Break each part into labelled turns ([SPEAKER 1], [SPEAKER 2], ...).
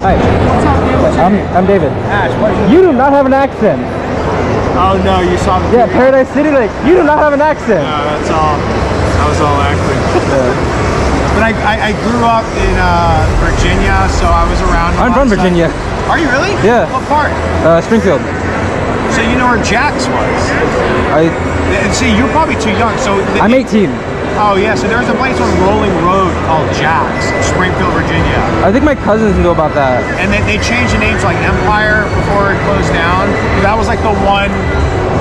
[SPEAKER 1] Hi.
[SPEAKER 2] What's your
[SPEAKER 1] I'm,
[SPEAKER 2] name?
[SPEAKER 1] I'm David.
[SPEAKER 2] Ash, what is your
[SPEAKER 1] You do not have an accent.
[SPEAKER 2] Oh no, you saw me.
[SPEAKER 1] Yeah, Paradise City Lake. You do not have an accent.
[SPEAKER 2] No, that's all. That was all acting.
[SPEAKER 1] Uh,
[SPEAKER 2] But I, I, I grew up in uh, Virginia, so I was around. a
[SPEAKER 1] I'm
[SPEAKER 2] lot
[SPEAKER 1] from
[SPEAKER 2] of stuff.
[SPEAKER 1] Virginia.
[SPEAKER 2] Are you really?
[SPEAKER 1] Yeah.
[SPEAKER 2] What part?
[SPEAKER 1] Uh, Springfield.
[SPEAKER 2] So you know where Jax was.
[SPEAKER 1] I,
[SPEAKER 2] And see, you're probably too young. So the,
[SPEAKER 1] I'm 18.
[SPEAKER 2] oh yeah, so there's a place on Rolling Road called Jax, Springfield, Virginia.
[SPEAKER 1] I think my cousins know about that.
[SPEAKER 2] And then they changed the name to like Empire before it closed down. That was like the one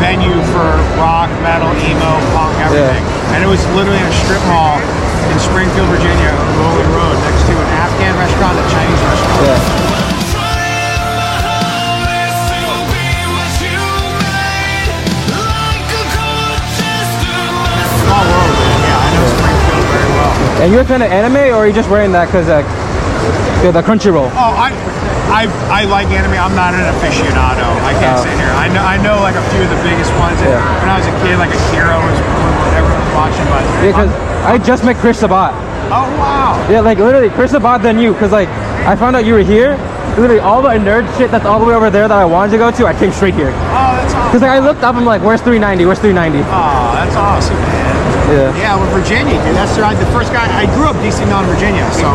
[SPEAKER 2] venue for rock, metal, emo, punk, everything. And it was literally in a strip mall in Springfield, Virginia, on Rolling Road, next to an Afghan restaurant, and a Chinese restaurant.
[SPEAKER 1] Yeah.
[SPEAKER 2] Small world. Yeah, I know Springfield very well.
[SPEAKER 1] And you're a fan of anime, or are you just wearing that because uh, yeah, the Crunchyroll?
[SPEAKER 2] Oh, I, I, I like anime. I'm not an aficionado. I can't
[SPEAKER 1] Oh.
[SPEAKER 2] sit here. I know, I know like a few of the biggest ones. And
[SPEAKER 1] Yeah.
[SPEAKER 2] When I was a kid, like Akira was what everyone was watching. But
[SPEAKER 1] Because I just met Chris Sabat.
[SPEAKER 2] oh wow,
[SPEAKER 1] Yeah, like literally, Chris Sabat than you. Because like I found out you were here. Literally, all the nerd shit that's all the way over there that I wanted to go to, I came straight here.
[SPEAKER 2] oh that's awesome.
[SPEAKER 1] Because like I looked up, I'm like, where's 390? Where's 390?
[SPEAKER 2] Oh, that's awesome, man.
[SPEAKER 1] Yeah.
[SPEAKER 2] Yeah, well, Virginia, dude. That's right. The first guy I grew up DC Mountain, Virginia. So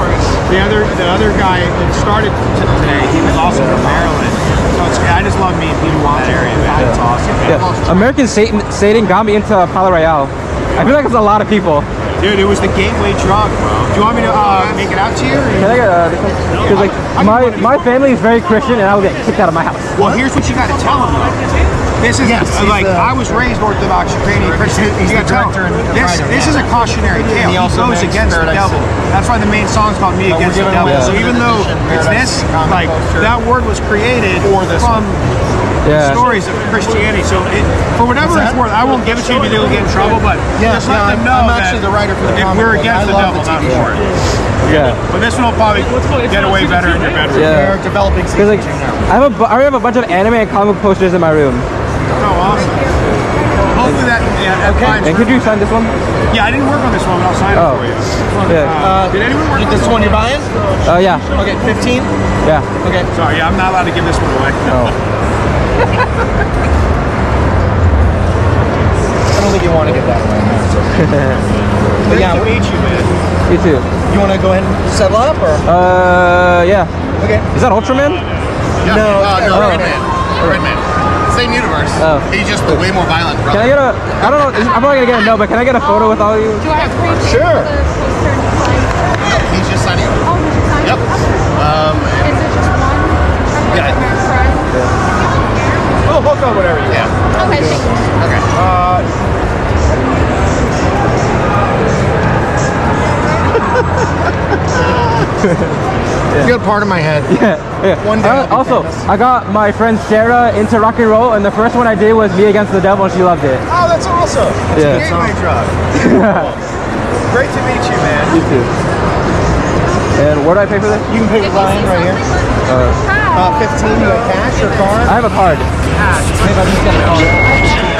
[SPEAKER 2] the other the other guy that started t- today, he was also from Maryland. So it's, I just love meeting people in that area, man. It's awesome. man.
[SPEAKER 1] Yeah. American Satan, Satan got me into Palo Royale. I feel like it's a lot of people.
[SPEAKER 2] Dude, it was the gateway drug, bro. Do you want me to uh, make it out to you? Or
[SPEAKER 1] Can I get uh, this one? 'Cause, like my my family is very Christian, and I will get kicked out of my house.
[SPEAKER 2] Well, here's what you got to tell him. Though. This is like I was raised Orthodox Ukrainian Christian. you got to tell him this. This is a cautionary tale. He,
[SPEAKER 3] also
[SPEAKER 2] goes
[SPEAKER 3] makes
[SPEAKER 2] against the
[SPEAKER 3] Paradise
[SPEAKER 2] devil. That's why the main song's called "Me Against the
[SPEAKER 3] giving
[SPEAKER 2] Devil."
[SPEAKER 3] away
[SPEAKER 2] So
[SPEAKER 3] the
[SPEAKER 2] even though
[SPEAKER 3] definition,
[SPEAKER 2] it's
[SPEAKER 3] Paradise
[SPEAKER 2] this,
[SPEAKER 3] City Common
[SPEAKER 2] like
[SPEAKER 3] Culture.
[SPEAKER 2] that word was created
[SPEAKER 3] Or this
[SPEAKER 2] from
[SPEAKER 1] Yeah.
[SPEAKER 2] stories of Christianity. So it, for whatever
[SPEAKER 3] What's
[SPEAKER 2] it's
[SPEAKER 3] that?
[SPEAKER 2] worth, I won't give it to you if you'll get in trouble. But
[SPEAKER 3] Yeah,
[SPEAKER 2] just let
[SPEAKER 3] no,
[SPEAKER 2] them
[SPEAKER 3] I'm-
[SPEAKER 2] know
[SPEAKER 3] I'm
[SPEAKER 2] that
[SPEAKER 3] actually the writer for the
[SPEAKER 2] if
[SPEAKER 3] comic
[SPEAKER 2] we're
[SPEAKER 3] book.
[SPEAKER 2] against
[SPEAKER 3] I
[SPEAKER 2] the
[SPEAKER 3] love
[SPEAKER 2] devil,
[SPEAKER 3] the
[SPEAKER 2] not
[SPEAKER 3] TV
[SPEAKER 2] for it.
[SPEAKER 1] Yeah.
[SPEAKER 2] But this one will probably get away better in your bedroom.
[SPEAKER 1] Yeah.
[SPEAKER 3] They're developing season
[SPEAKER 1] Because like
[SPEAKER 3] two now.
[SPEAKER 1] I have a bu- I already have a bunch of anime and comic book posters in my room.
[SPEAKER 2] Oh, awesome. Hopefully that, yeah, that finds
[SPEAKER 1] And could you sign this one?
[SPEAKER 2] Yeah, I didn't work on this one, but I'll sign
[SPEAKER 1] Oh.
[SPEAKER 2] it for you.
[SPEAKER 1] Yeah.
[SPEAKER 2] Uh, did anyone work
[SPEAKER 3] You-
[SPEAKER 2] on
[SPEAKER 3] This one you're buying?
[SPEAKER 1] Oh yeah.
[SPEAKER 3] Okay, 15?
[SPEAKER 1] Yeah.
[SPEAKER 3] Okay.
[SPEAKER 2] Sorry, yeah, I'm not allowed to give this one away.
[SPEAKER 1] Oh.
[SPEAKER 3] I don't think you want to get that one. But
[SPEAKER 2] Great
[SPEAKER 3] yeah,
[SPEAKER 2] to meet you, man.
[SPEAKER 1] You too.
[SPEAKER 3] you want to go ahead and settle up or?
[SPEAKER 1] Uh yeah.
[SPEAKER 3] Okay.
[SPEAKER 1] Is that Ultraman?
[SPEAKER 3] No,
[SPEAKER 4] uh, no,
[SPEAKER 1] oh.
[SPEAKER 4] Red Man. Red Man. Same universe.
[SPEAKER 1] Oh.
[SPEAKER 4] He's just a way more violent,
[SPEAKER 1] Can I
[SPEAKER 4] brother.
[SPEAKER 1] get a? I don't know. I'm probably gonna get a no, but can I get a photo with all of you?
[SPEAKER 5] Do I have to
[SPEAKER 3] Sure.
[SPEAKER 5] The poster and sign?
[SPEAKER 4] He's just signing over.
[SPEAKER 5] Oh, did you sign
[SPEAKER 4] Yep.
[SPEAKER 5] it?
[SPEAKER 4] Um,
[SPEAKER 5] Is it just one?
[SPEAKER 4] Yeah.
[SPEAKER 2] Oh, hook on whatever you
[SPEAKER 4] yeah.
[SPEAKER 5] Okay, thank you.
[SPEAKER 4] Okay.
[SPEAKER 3] Good part of my head.
[SPEAKER 1] Yeah.
[SPEAKER 3] One day
[SPEAKER 1] Uh,
[SPEAKER 3] I'll be
[SPEAKER 1] also,
[SPEAKER 3] famous.
[SPEAKER 1] I got my friend Sarah into rock and roll, and the first one I did was Me Against the Devil, and she loved it.
[SPEAKER 2] Oh, that's awesome. That's
[SPEAKER 1] Yeah.
[SPEAKER 2] a gateway drug. Cool. Great to meet you, man.
[SPEAKER 1] You too. And where do I pay for this?
[SPEAKER 3] You can pay with Ryan right here.
[SPEAKER 5] Hi.
[SPEAKER 3] Uh, 15, you got cash or card?
[SPEAKER 1] I have a card.
[SPEAKER 3] Ah, Maybe I'm just gonna call it.